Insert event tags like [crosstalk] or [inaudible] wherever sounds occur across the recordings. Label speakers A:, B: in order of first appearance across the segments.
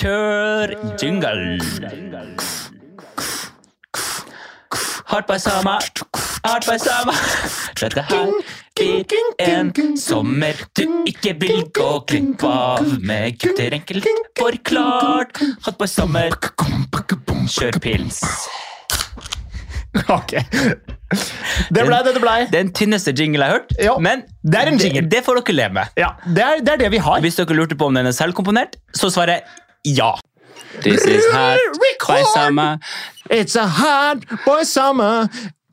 A: Kjør jingle! Hardt bersama, hardt bersama. Dette her blir en sommer du ikke vil gå glipp av. Med gutter enkelt forklart. Hardt bersama, kjør pils.
B: Ok. Det blei det det blei.
A: Den tynneste jingle jeg har hørt,
B: Ja.
A: men
B: Det er en jingle.
A: det får dere leve med.
B: Ja, det er, det er det vi har.
A: Hvis dere lurte på om den er selvkomponert, så svarer jeg ja.
C: This is hot
B: Record!
C: bersama.
B: It's a hot boy summer.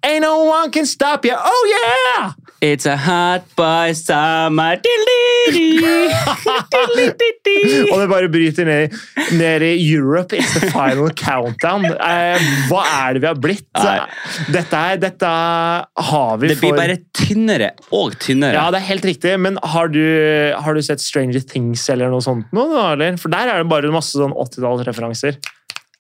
B: Ain't no one can stop you. Oh yeah!
C: It's a hot bersama.
B: [laughs] Og det bare bryter ned, i- ned i Europe. It's the final countdown. Eh, hva er det vi har blitt?
C: Nei.
B: Dette, er, dette har vi
C: Det blir
B: for
C: bare tynnere og
B: Ja,
C: tynnere.
B: det er helt riktig, men har du, har du sett Stranger Things eller noe sånt? nå, da, eller? For der er det bare masse sånn 80-tallsreferanser.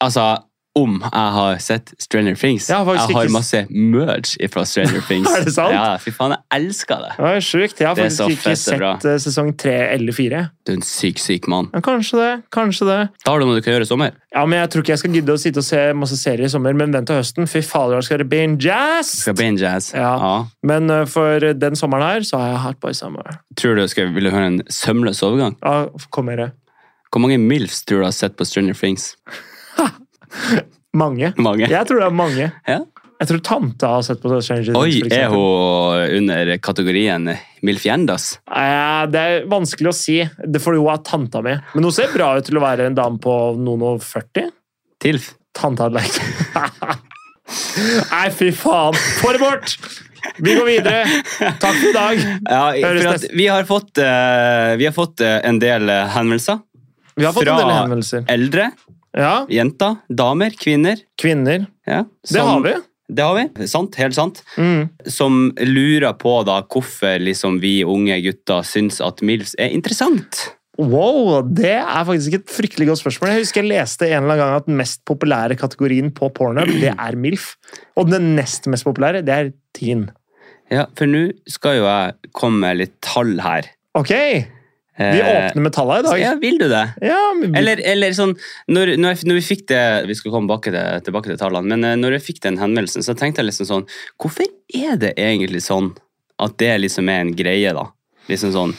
C: Altså, om jeg har sett Stranger Things.
B: Jeg har faktisk
C: Jeg har
B: ikke-
C: masse merge fra
B: [laughs]
C: Stranger Things.
B: Er det sant?
C: Ja, fy faen, jeg elsker det.
B: Det er sjukt. Jeg har
C: Det er så
B: faktisk ikke
C: fett, det er bra.
B: sett eh, sesong tre eller fire.
C: Du er en syk, syk mann.
B: Men kanskje det, kanskje det.
C: Da har du noe du kan gjøre i sommer.
B: Ja, men Jeg tror ikke jeg skal gidde å sitte og se masse serier i sommer, men vent til høsten. Fy fader, da skal det bli en jazz!
C: Skal binge jazz.
B: Ja. Men eh, for den sommeren her, så har jeg hatt boy summer.
C: Tror du skal, vil du høre en sømløs overgang?
B: Ja, kom her.
C: Hvor mange milfs tror du har sett på Stranger Things?
B: Mange.
C: Mange.
B: Jeg tror det er mange.
C: [laughs] Ja.
B: Jeg tror tanta har sett på Stranger Things.
C: Oi,
B: for
C: er
B: eksempel.
C: hun under kategorien milfjendas?
B: Eh, Det er vanskelig å si, det får jo av tanta mi. Men hun ser bra ut til å være en dame på noen og 40.
C: Tilf?
B: Tanta Leik. Nei, fy faen! Få det bort! Vi går videre. Takk for i dag.
C: Ja,
B: Høres
C: for at
B: nesten-
C: vi har fått, eh, vi har fått eh, en del eh, henvendelser.
B: Vi har fått
C: Fra-
B: en del henvendelser.
C: Eldre,
B: Ja,
C: jenter, damer, kvinner.
B: Kvinner.
C: Ja,
B: Det har vi.
C: Det har vi. Sant, helt sant.
B: Mm.
C: Som lurer på da hvorfor liksom vi unge gutter syns at MILFs er interessant.
B: Wow, det er faktisk et fryktelig godt spørsmål. Jeg husker jeg leste en eller annen gang at den mest populære kategorien på porno, det er MILF. Og den nest mest populære, det er teen.
C: Ja, for nå skal jo jeg komme med litt tall her.
B: Ok, vi åpner med tallene i dag.
C: Eh, Ja, vil du det?
B: Ja, men vi-
C: Eller, eller sånn, når, når, jeg, når vi fikk det Vi skal komme tilbake til, tilbake til tallene, men eh, når jeg fikk den henvendelsen, så tenkte jeg liksom sånn Hvorfor er det egentlig sånn at det liksom er en greie, da? Liksom sånn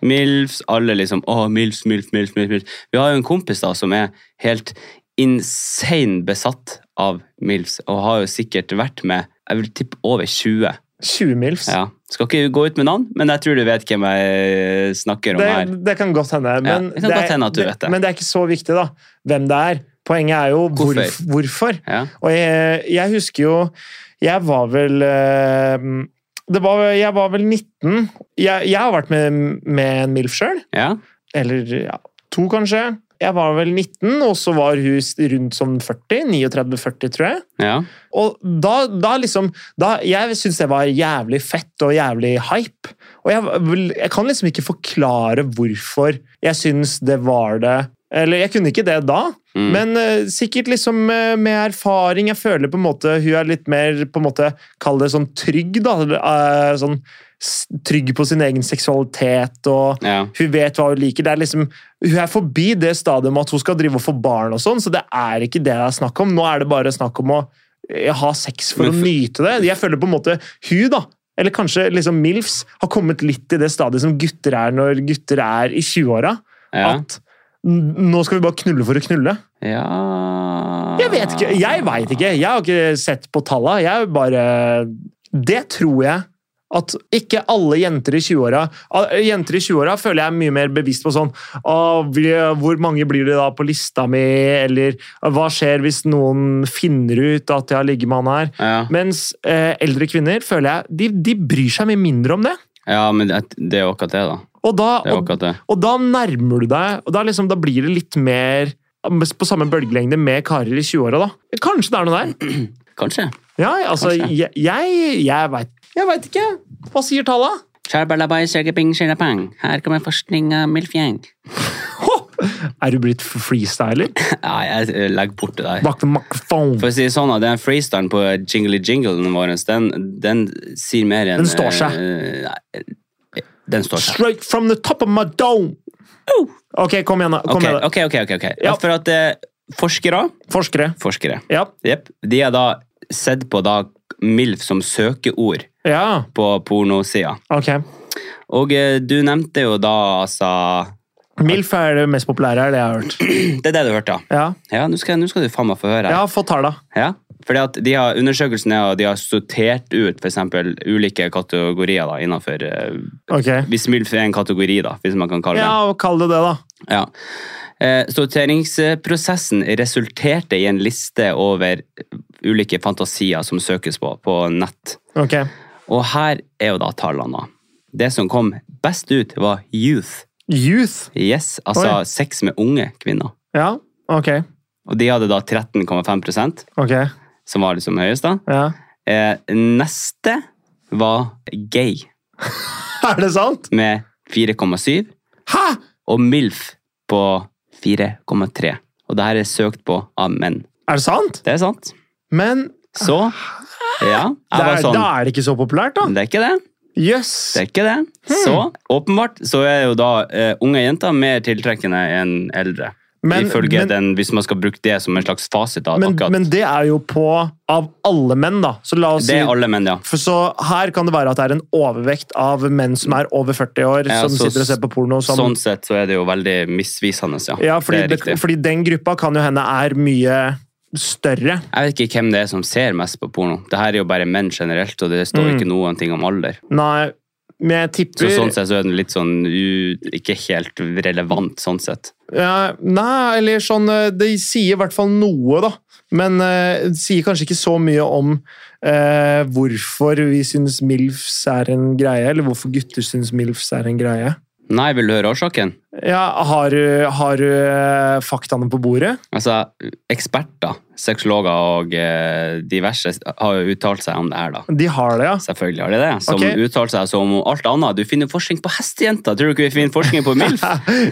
C: Milfs, alle liksom Å, Milfs, Milf, Milf, Milf. Milf. Vi har jo en kompis da som er helt insane besatt av Milfs, og har jo sikkert vært med jeg vil tippe over 20.
B: 20 MILFs.
C: Ja. Skal ikke gå ut med navn, men jeg tror du vet hvem jeg eh, snakker om her.
B: Det, det kan godt hende. Men,
C: det kan godt hende at du vet det.
B: men det er ikke så viktig da, hvem det er. Poenget er jo hvorfor.
C: Hvorfor?
B: hvorfor.
C: Ja.
B: Og jeg, jeg husker jo Jeg var vel eh, det var, Jeg var vel 19. Jeg, jeg har vært med, med en MILF sjøl.
C: ja.
B: Eller ja, to, kanskje. Jeg var vel 19, og så var hun s- rundt som 40. 39-40, tror jeg.
C: ja.
B: Og da, da liksom da, Jeg syns det var jævlig fett og jævlig hype. Og jeg, vil- jeg kan liksom ikke forklare hvorfor jeg syns det var det. Eller jeg kunne ikke det da,
C: Mm.
B: men eh, sikkert liksom eh, med erfaring. Jeg føler på en måte hun er litt mer på en måte, Kall det sånn trygg, da. eh, sånn s- trygg på sin egen seksualitet og
C: ja.
B: hun vet hva hun liker. Det er liksom, hun er forbi det stadiet med at hun skal drive og få barn, og sånn, så det er ikke det det er snakk om. Nå er det bare snakk om å eh, ha sex for
C: Men
B: å
C: for-
B: nyte det. Jeg føler på en måte hun, da, eller kanskje liksom Milfs, har kommet litt i det stadiet som gutter er når gutter er i 20-åra.
C: ja.
B: At n- nå skal vi bare knulle for å knulle.
C: Ja
B: Jeg vet ikke, jeg vet ikke. Jeg har ikke sett på talla. Jeg bare Det tror jeg at ikke alle jenter i 20-åra ah, Jenter i 20-åra føler jeg er mye mer bevisst på sånn ah, vi- Hvor mange blir det da på lista mi? Eller "Ah, hva skjer hvis noen finner ut at jeg har ligget med han her?
C: Ja,
B: Mens eh, eldre kvinner føler jeg de, de bryr seg mye mindre om det.
C: ja men det, det er jo akkurat det, da.
B: Og da,
C: Det er jo
B: og,
C: akkurat det.
B: og da nærmer du deg og da, liksom, da blir det litt mer på samme bølgelengde med karer i 20-åra, da. Kanskje det er noe der?
C: Kanskje.
B: Ja, altså,
C: Kanskje.
B: jeg, jeg, jeg veit Jeg veit ikke. Hva sier talla?
C: Shabalabai, shagabing, shalabang. Her kommer forskning av milfjeng.
B: Er du blitt freestyler?
C: [laughs] Ja, jeg legger bort det der.
B: Bak the microphone.
C: For å si det sånn, at den freestylen på jingly jinglen vår, den, den sier mer enn
B: Den står seg.
C: eh, nei, den står seg.
B: Straight from the top of my dome! Ok, kom igjen, da. Kom
C: Ok,
B: igjen, da.
C: ok, ok. ok, ok.
B: Ja.
C: For at eh, forskere
B: Forskere.
C: Forskere.
B: Ja.
C: Jep. De har da sett på da MILF som søkeord
B: ja.
C: på pornosida.
B: Ok.
C: Og eh, du nevnte jo da altså [clears throat]
B: MILF er det mest populære her, det jeg har hørt.
C: Det er det du hørte, da.
B: Ja,
C: Ja, nå skal, nå skal du faen meg få høre.
B: ja få talla.
C: Ja, fordi at de har, undersøkelsen er at de har sortert ut for eksempel ulike kategorier da, innenfor eh,
B: Ok.
C: Hvis MILF er en kategori, da, hvis man kan kalle
B: Ja,
C: det.
B: og kall det det, da.
C: Ja. Eh, sorteringsprosessen resulterte i en liste over ulike fantasier som søkes på på nett.
B: Ok.
C: Og her er jo da tallene. da. Det som kom best ut, var youth.
B: Youth.
C: Yes, altså
B: Oi.
C: sex med unge kvinner.
B: Ja, ok.
C: Og de hadde da 13,5
B: Ok.
C: som var liksom høyest. da.
B: Ja.
C: Eh, neste var gay
B: Er det sant?
C: med 4,7
B: Hæ?!
C: og MILF på 4,3. Og det her er søkt på av menn.
B: Er det sant?
C: Det er sant.
B: Men
C: Så ja, jeg
B: da
C: var
B: er,
C: sånn
B: da er Ah. det ikke så populært, da.
C: Det er ikke det.
B: Jøss.
C: Det er ikke det.
B: Hmm.
C: Så åpenbart så er jo da eh, unge jenter mer tiltrekkende enn eldre.
B: Men-
C: Ifølge
B: men-
C: den, hvis man skal bruke det som en slags fasit. Da,
B: Men,
C: akkurat.
B: men det er jo på av alle menn, da. Så la oss si
C: det er alle menn, ja.
B: for så her kan det være at det er en overvekt av menn som er over 40 år,
C: Ja,
B: som
C: så-
B: sitter og ser på porno. Som,
C: Sånn sett så er det jo veldig misvisende, ja.
B: ja, fordi,
C: det er riktig.
B: det fordi den gruppa kan jo hende er mye større.
C: Jeg vet ikke hvem det er som ser mest på porno. Det her er jo bare menn generelt, og det står
B: Mm.
C: ikke noen ting om alder.
B: Nei, men jeg tipper
C: Så sånn sett så er den litt sånn u, ikke helt relevant, sånn sett.
B: Ja, nei, eller sånn eh, Det sier i hvert fall noe, da. Men eh, det sier kanskje ikke så mye om eh, hvorfor vi syns MILFs er en greie, eller hvorfor gutter syns MILFs er en greie.
C: Nei, vil du høre årsaken?
B: Ja, Har du- har du eh, faktaene på bordet?
C: Altså, eksperter, sexologer og eh, diverse har jo uttalt seg om det her, da.
B: De har det, ja.
C: Selvfølgelig har de det. Som
B: Ok.
C: uttaler seg som om alt annet. Du finner forskning på hestejenter! Tror du ikke vi finner forskning
B: [laughs]
C: på MILF?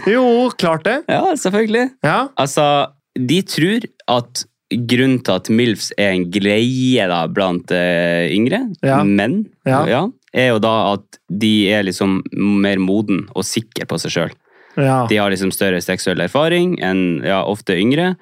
B: Jo, klart det.
C: ja, selvfølgelig.
B: Ja.
C: Altså, de tror at grunnen til at MILFs er en greie da, blant eh, yngre
B: Ja.
C: menn,
B: Ja.
C: er jo da at de er liksom mer moden og sikker på seg sjøl.
B: ja.
C: De har liksom større seksuell erfaring enn ja, ofte yngre.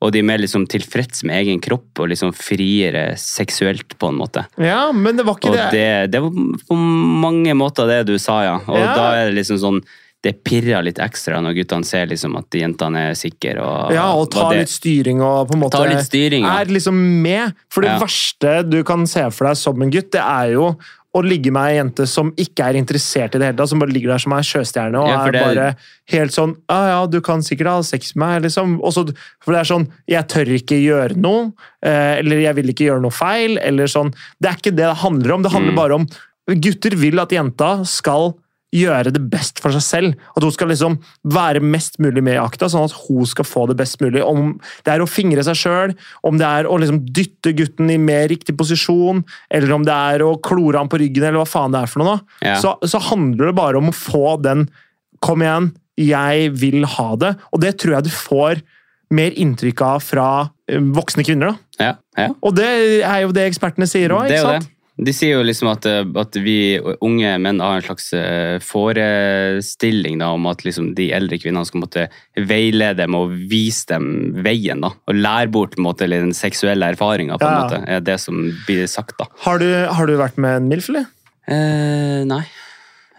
C: Og de er mer liksom tilfreds med egen kropp og liksom friere seksuelt, på en måte.
B: Ja, men det var ikke
C: Og
B: det.
C: det, det var på mange måter det du sa, ja. Og
B: Ja.
C: da er det liksom sånn Det pirrer litt ekstra når guttene ser liksom at jentene er sikre. Og,
B: Ja, og ta
C: og det-
B: litt styring og på en måte
C: Ta litt styring, ja.
B: er liksom med. For det
C: Ja.
B: verste du kan se for deg som en gutt, det er jo å ligge med ei jente som ikke er interessert i det hele tatt, som bare ligger der som ei sjøstjerne og
C: Ja, for
B: er
C: det-
B: bare helt sånn Ja, ja, du kan sikkert ha sex med meg, liksom. Og så- for det er sånn Jeg tør ikke gjøre noe, eh, eller jeg vil ikke gjøre noe feil, eller sånn. Det er ikke det det handler om. Det handler bare om Gutter vil at jenta skal gjøre det best for seg selv. At hun skal liksom være mest mulig med i akta, sånn at hun skal få det best mulig. Om det er å fingre seg sjøl, om det er å liksom dytte gutten i mer riktig posisjon, eller om det er å klore han på ryggen, eller hva faen det er for noe, da.
C: Ja.
B: Så, så handler det bare om å få den Kom igjen, jeg vil ha det. Og det tror jeg du får mer inntrykk av fra eh, voksne kvinner, da.
C: Ja, ja.
B: Og det er jo det ekspertene sier òg,
C: Det er
B: ikke
C: jo
B: sant?
C: det. De sier jo liksom at, eh, at vi unge menn har en slags eh, forestilling da, om at liksom de eldre kvinnene skal måtte veilede dem og vise dem veien. da, Og lære bort på en måte, eller den seksuelle erfaringa, på en
B: Ja.
C: måte, er det som blir sagt. da.
B: Har du, har du vært med en MILF, eller?
C: Eh, nei.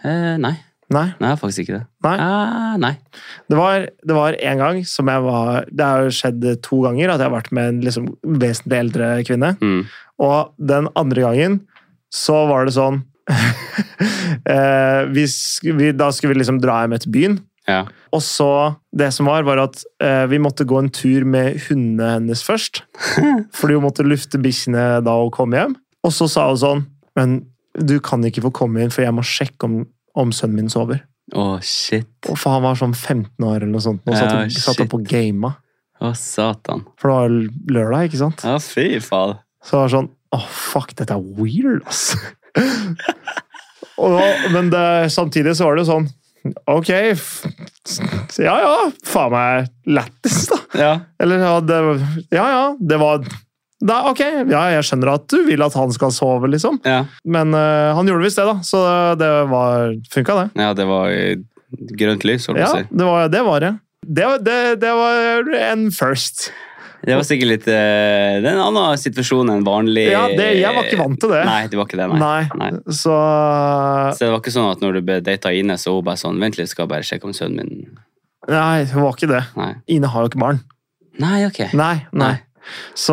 C: Eh, nei.
B: Nei?
C: Nei, jeg har faktisk ikke det.
B: Nei.
C: Eh, nei.
B: Det var, det var en gang som jeg var Det har jo skjedd to ganger at jeg har vært med en liksom vesentlig eldre kvinne.
C: Mm.
B: Og den andre gangen så var det sånn [laughs] eh, vi, sk- vi, Da skulle vi liksom dra hjem etter byen.
C: Ja.
B: Og så Det som var, var at eh, vi måtte gå en tur med hundene hennes
C: [laughs]
B: først. Fordi hun måtte lufte bikkjene da hun kom hjem. Og så sa hun sånn Men du kan ikke få komme inn, for jeg må sjekke om, om sønnen min sover.
C: Å, shit.
B: Og for han var sånn 15 år eller noe sånt. Og
C: Ja,
B: satt, og- satt
C: shit.
B: opp og gama.
C: Å, satan.
B: For det var jo lørdag, ikke sant?
C: Ja, fy faen.
B: Så det var sånn Å, fuck, dette er weird, ass. [laughs] og da, men det, samtidig så var det jo sånn Ok, f- ja ja. Faen meg lættis, da.
C: Ja.
B: Eller ja, det, ja, ja, det var da, Ok, ja, jeg skjønner at du vil at han skal sove, liksom.
C: Ja.
B: Men eh, han gjorde visst det, da. Så det var funka, det.
C: ja, det var eh, grønt lys, holdt jeg
B: Ja,
C: på å si.
B: det var det. Var det. Det, var- det, det var en first.
C: Det var sikkert litt eh, Det er en annen situasjon enn vanlig
B: Ja, det, jeg var ikke vant til det.
C: Nei, det var ikke det, nei.
B: Nei.
C: Nei.
B: Så
C: Så det var ikke sånn at når du ble data Ine, så hun bare sånn Vent litt, skal jeg bare sjekke om sønnen min
B: Nei, det var ikke det.
C: Nei.
B: Ine har jo ikke barn.
C: Nei, ok.
B: Nei. nei. Så,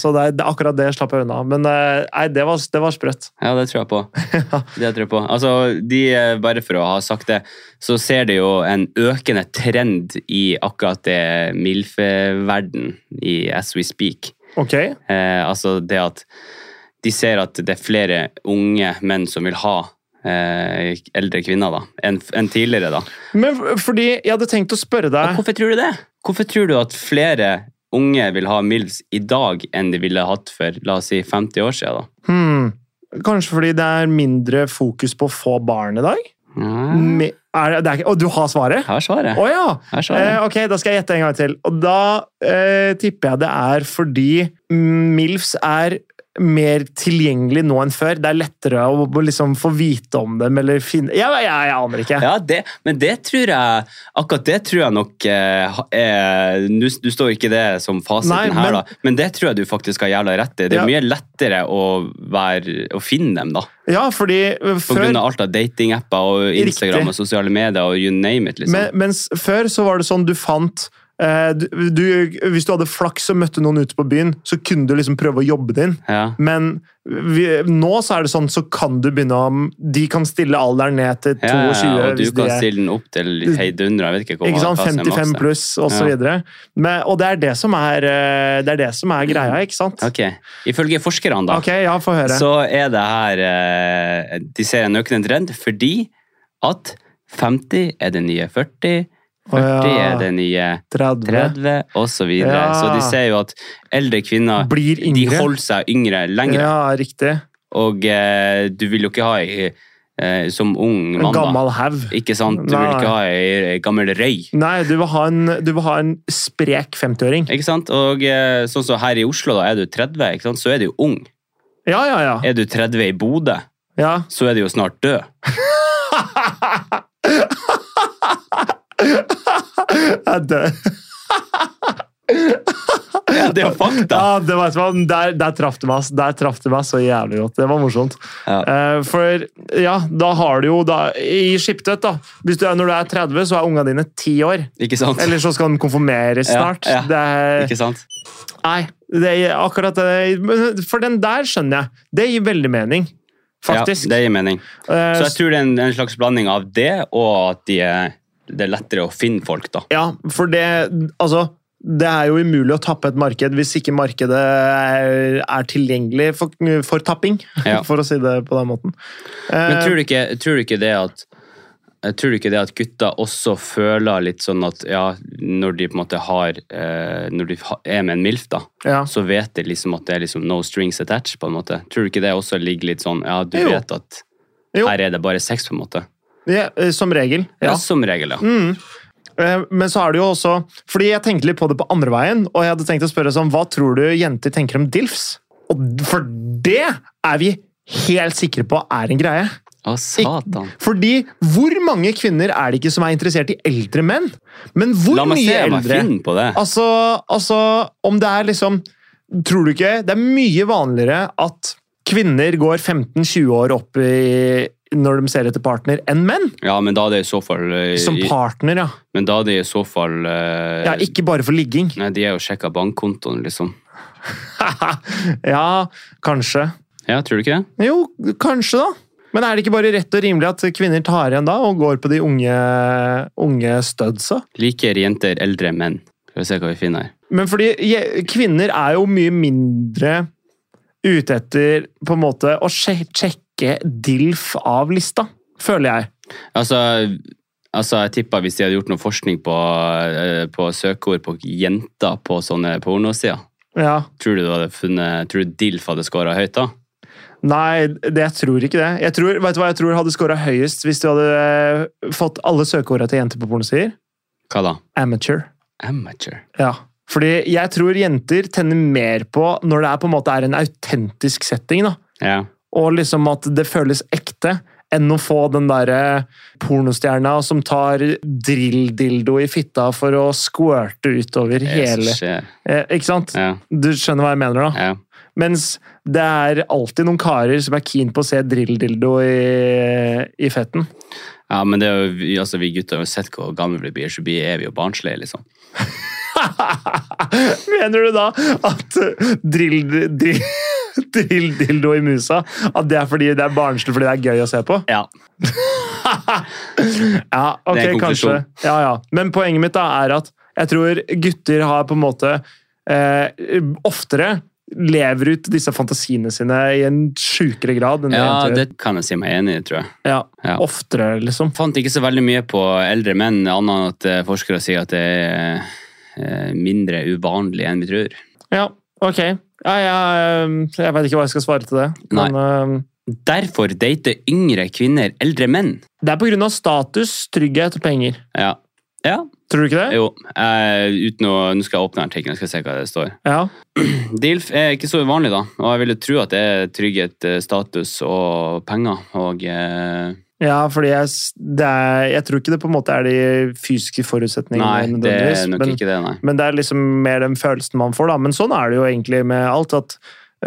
B: så det, er- det, er akkurat det slapp jeg unna. Men eh, nei, det var, det var sprøtt.
C: Ja, det tror jeg på. Det tror jeg på. Altså, de, eh, bare for å ha sagt det, så ser det jo en økende trend i akkurat det MILF-verden i As We Speak.
B: Ok?
C: Eh, altså det at de ser at det er flere unge menn som vil ha eh, eldre kvinner da, enn enn tidligere. da.
B: Men f- fordi jeg hadde tenkt å spørre
C: Og
B: deg
C: hvorfor tror du det? Hvorfor tror du at flere unge vil ha MILFs i dag enn de ville hatt for la oss si 50 år siden? da?
B: hmm, Kanskje fordi det er mindre fokus på å få barn i dag?
C: Ja,
B: Me- Er, det er ikke, og du har svaret?
C: her
B: Å
C: svaret.
B: ja!
C: Her
B: Eh,
C: svaret.
B: ok, Da skal jeg gjette en gang til. Og da eh, tipper jeg det er fordi mm, MILFs er mer tilgjengelig nå enn før. Det er lettere å å liksom få vite om dem eller finne Jeg, jeg, jeg aner ikke.
C: Ja, det, men det tror jeg Akkurat det tror jeg nok eh, ha- er Du, du står ikke det som
B: Nei,
C: fasiten
B: men-
C: her, da, men det tror jeg du faktisk har jævla rett i. Det er
B: Ja.
C: mye lettere å, være, å finne dem, da.
B: Ja, fordi eh,
C: På grunn
B: før
C: av alt av datingapper og Instagram og
B: Riktig.
C: sosiale medier og you name it, liksom.
B: men, Mens før så var det sånn du fant eh, du, du, Hvis du hadde flaks og møtte noen ute på byen, så kunne du liksom prøve å jobbe din.
C: ja.
B: Men vi, nå så er det sånn, så kan du begynne om De kan stille alderen ned til 22.
C: Ja, ja, og du
B: hvis de
C: kan
B: er-
C: stille den opp til heidundra, jeg vet ikke hva
B: Ikke sant?
C: hva som er
B: 55
C: makset.
B: pluss, og så
C: Ja.
B: videre. Men, og det er det som er, eh, det er det som er greia, ikke sant?
C: Ok, Ifølge forskerne, da,
B: Ok, ja, få høre.
C: så er det her eh, De ser en økende trend fordi at 50 er det nye 40, 40
B: Å, ja.
C: er det nye
B: 30.
C: 30, og Så, videre.
B: Ja.
C: så de ser jo at eldre kvinner
B: Blir
C: de
B: yngre.
C: holder seg yngre lenger.
B: Ja, riktig.
C: Og eh, du vil jo ikke ha ei eh, som ung
B: En
C: mann, da.
B: gammel haug.
C: Ikke sant? Du vil
B: Nei.
C: ikke ha ei gammel røy.
B: Nei, du vil ha en, du vil ha en sprek 50-åring.
C: Ikke sant? Og eh, sånn som her i Oslo, da, er du 30, ikke sant? så er du jo ung.
B: Ja, ja, ja.
C: Er du 30 i Bodø,
B: ja.
C: så er du jo snart død.
B: Ja, det- [laughs]
C: Ja, det er jo fakta!
B: Ja, det vet du hva, der, der traff det meg ass. Der traff det meg så jævlig godt. Det var morsomt.
C: Ja.
B: Eh, for ja, da har du jo da, I Skiptvet, da. Hvis du er, når du er 30, så er ungene dine 10 år.
C: Ikke sant?
B: Eller eh, så skal de konfirmeres
C: Ja,
B: snart.
C: ja.
B: Det er,
C: Ikke sant?
B: Nei, det er akkurat det. men For den der skjønner jeg. Det gir veldig mening, faktisk.
C: Ja, det gir mening.
B: Eh,
C: Så jeg tror det er en, en slags blanding av det, og at de er, det er lettere å finne folk, da.
B: ja, for det Altså, det er jo umulig å tappe et marked hvis ikke markedet er, er tilgjengelig for, for tapping,
C: Ja.
B: [laughs] for å si det på den måten. Eh,
C: Men tror du ikke, tror du ikke det at eh, Tror du ikke det at gutta også føler litt sånn at ja, når de på en måte har eh, Når de ha- er med en MILF, da,
B: Ja.
C: så vet de liksom at det er liksom no strings attached, på en måte. Tror du ikke det også ligger litt sånn Ja, du
B: Jo.
C: vet at
B: Jo.
C: her er det bare sex, på en måte.
B: Ja, eh, som regel.
C: Ja,
B: Ja. Mm.
C: Som regel, ja.
B: Eh, Men så er det jo også Fordi jeg tenkte litt på det på andre veien, og jeg hadde tenkt å spørre sånn Hva tror du jenter tenker om DILFs? Og for det er vi helt sikre på er en greie.
C: Å, satan.
B: Fordi hvor mange kvinner er det ikke som er interessert i eldre menn? Men hvor
C: La meg se
B: mye
C: om jeg
B: eldre?
C: finner på det.
B: Altså, altså, om det er liksom Tror du ikke? Det er mye vanligere at kvinner går 15-20 år opp i, når de ser etter partner, enn menn.
C: Ja, men da er det i så fall eh,
B: Som
C: i-
B: partner, ja.
C: Men da er det i så fall eh,
B: ja ikke bare for ligging.
C: Nei, de er jo sjekka bankkontoen, liksom.
B: [laughs] ja, kanskje.
C: Ja, tror du ikke det?
B: Jo, kanskje da. Men er det ikke bare rett og rimelig at kvinner tar igjen da, og går på de unge, unge studsa?
C: Liker jenter eldre menn. Skal vi se hva vi finner her.
B: Men fordi je- kvinner er jo mye mindre ute etter på en måte å sje- sjekke DILF av lista, føler jeg.
C: Altså, altså jeg tippa hvis de hadde gjort noe forskning på, eh, på søkeord på jenter på sånne pornosider,
B: Ja.
C: tror du du hadde funnet Tror du DILF hadde scora høyt da?
B: Nei, det, jeg tror ikke det. Jeg tror, vet du hva jeg tror hadde scora høyest hvis du hadde eh, fått alle søkeordene til jenter på pornosider?
C: Hva da?
B: Amateur.
C: Amateur.
B: Ja. Fordi jeg tror jenter tenner mer på når det er på en måte er en autentisk setting, da.
C: Ja.
B: og liksom at det føles ekte, enn å få den derre pornostjerna som tar drill-dildo i fitta for å squirte utover hele
C: skjer.
B: eh, Ikke sant?
C: Ja,
B: Du skjønner hva jeg mener, da?
C: ja.
B: Mens det er alltid noen karer som er keen på å se drill-dildo i, i fetten.
C: ja, men det er jo, vi- altså, vi gutter har jo sett hvor gamle vi blir, så blir er vi jo barnslige, liksom.
B: [laughs] Mener du da at eh, drill, drill, [laughs] drill-dildo i musa At det er fordi det er barnslig fordi det er gøy å se på?
C: Ja.
B: Ja, ok,
C: Det er
B: kanskje.
C: konklusjon.
B: Ja, ja. Men poenget mitt da er at jeg tror gutter har på en måte eh, oftere lever ut disse fantasiene sine i en sjukere grad enn
C: ja,
B: jenter gjør.
C: det kan jeg si meg enig i, tror jeg.
B: ja,
C: ja.
B: Oftere, liksom.
C: fant ikke så veldig mye på eldre menn, annet enn at eh, forskere sier at det er eh, mindre uvanlig enn vi tror.
B: Ja, ok. Ja, jeg, jeg veit ikke hva jeg skal svare til det.
C: Nei.
B: Men, eh,
C: Derfor dater yngre kvinner eldre menn.
B: det er på grunn av status, trygghet og penger.
C: Ja. Ja,
B: Tror du ikke det?
C: jo. Eh, uten å, nå skal jeg åpne artikkelen og skal se hva det står.
B: Ja.
C: DILF er ikke så uvanlig, da. Og jeg ville tro at det er trygghet, eh, status og penger. Og eh,
B: ja, fordi jeg, s- det er, jeg tror ikke det på en måte er de fysiske forutsetningene.
C: Nei, det er
B: nødvendigvis,
C: nok
B: men-
C: ikke det, nei.
B: Men det er liksom mer den følelsen man får, da. Men sånn er det jo egentlig med alt. At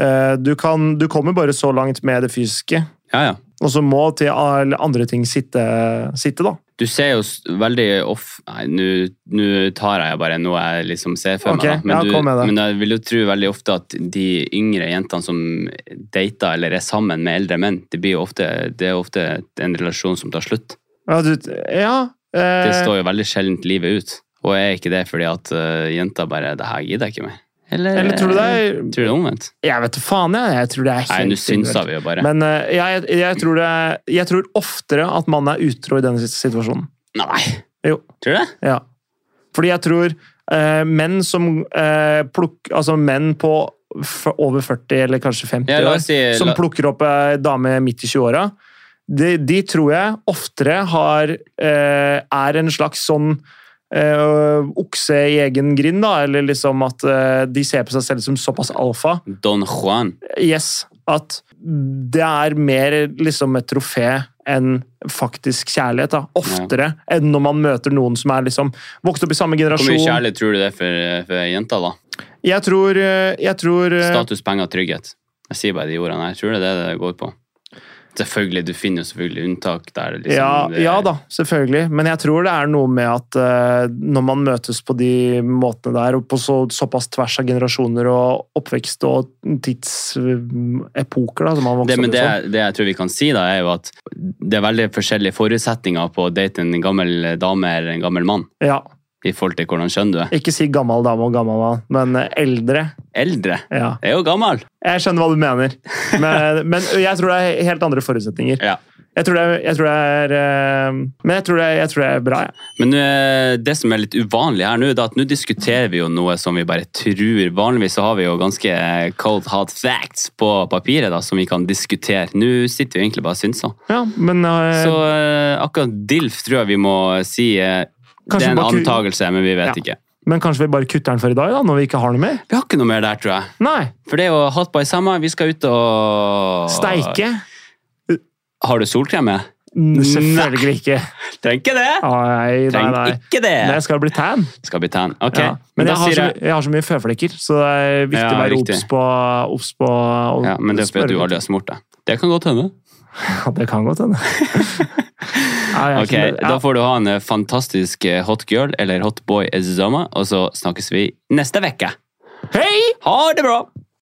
B: eh, du, kan, du kommer bare så langt med det fysiske,
C: Ja, ja.
B: og så må til alle andre ting sitte, sitte da.
C: Du ser jo s- veldig off... Nei, nå- nå tar jeg bare noe jeg liksom ser for
B: Ok,
C: meg. da. Men,
B: ja, kom
C: du,
B: med det.
C: men jeg vil jo tro veldig ofte at de yngre jentene som dater eller er sammen med eldre menn, det, blir jo ofte, det er ofte en relasjon som tar slutt.
B: Ja, du, ja eh,
C: Det står jo veldig sjeldent livet ut. Og er ikke det fordi at eh, jenta bare Det her gidder jeg ikke mer. Eller,
B: Eller tror du det er
C: Tror du det er omvendt?
B: Jeg vet da faen, jeg. Jeg tror det er
C: Nei,
B: helt
C: nå synser
B: individuelt.
C: vi jo bare.
B: Men eh, jeg, jeg, tror det, jeg tror oftere at man er utro i denne situasjonen.
C: Nei!
B: Jo.
C: Tror du det?
B: Ja. Fordi jeg tror eh, menn som eh, plukk- Altså menn på f over 40 eller kanskje 50
C: Ja, la
B: år
C: oss si
B: som
C: la,
B: plukker opp ei dame midt i 20-åra, de, de tror jeg oftere har eh, Er en slags sånn eh, okse i egen grind, da. Eller liksom at eh, de ser på seg selv som såpass alfa.
C: Don Juan.
B: Yes. At det er mer liksom et trofé enn faktisk kjærlighet. da, Oftere enn når man møter noen som er liksom vokst opp i samme
C: Hvor mye
B: generasjon.
C: kjærlighet tror du det er for, for jenta, da?
B: Jeg tror, eh, jeg tror eh,
C: Status, penger, trygghet. Jeg sier bare de ordene her. Jeg tror det er det det går på. Selvfølgelig, Du finner jo selvfølgelig unntak der. Liksom,
B: ja,
C: det-
B: ja da, selvfølgelig. Men jeg tror det er noe med at eh, når man møtes på de måtene der, og på så, såpass tvers av generasjoner og oppvekst og tidsepoker da, som man
C: Det,
B: vokser
C: men
B: opp i
C: det,
B: sånn.
C: det jeg tror vi kan si, da, er jo at det er veldig forskjellige forutsetninger på å date en gammel dame eller en gammel mann.
B: Ja,
C: I forhold til hvordan kjønn du er.
B: ikke si gammel dame og gammel mann, men eh, eldre.
C: Eldre
B: Ja.
C: er jo gammel!
B: Jeg skjønner hva du mener,
C: [laughs]
B: men, men jeg tror det er helt andre forutsetninger.
C: Ja.
B: Jeg tror det er, jeg tror det er eh, Men jeg tror det er, jeg tror det er bra, jeg.
C: Men eh, det som er litt uvanlig her nå, det er at nå diskuterer vi jo noe som vi bare tror. Vanligvis så har vi jo ganske cold hard facts på papiret da, som vi kan diskutere. Nå sitter vi egentlig bare og synser.
B: Ja, men eh,
C: Så eh, akkurat DILF tror jeg vi må si eh,
B: Kanskje
C: Det er en
B: bare ku-
C: antakelse, men vi vet
B: Ja.
C: ikke.
B: Men kanskje vi bare kutter den for i dag, da, når vi ikke har noe mer?
C: Vi har ikke noe mer der, tror jeg.
B: Nei.
C: For det er jo hot by summer. Vi skal ut og
B: Steike?
C: Har du solkrem med?
B: N- Selvfølgelig ikke.
C: Trenger ikke det!
B: Nei, nei,
C: Trenger
B: nei.
C: ikke det!
B: Men jeg skal bli tan.
C: Skal bli tan. Ok.
B: Ja. Men,
C: Men da
B: jeg, har
C: sier
B: så,
C: jeg
B: jeg har så mye føflekker, så det er viktig
C: Ja,
B: å være
C: riktig.
B: obs på, obs på å
C: ja, Men det er fordi du aldri har smurt deg. Det kan godt hende.
B: Ja, det kan
C: [laughs]
B: godt hende. Nei, jeg er
C: Ok,
B: ikke med. Ja.
C: Da får du ha en eh, fantastisk eh, hot girl eller hot boy summer, og så snakkes vi neste uke.
B: Hei!
C: Ha det bra!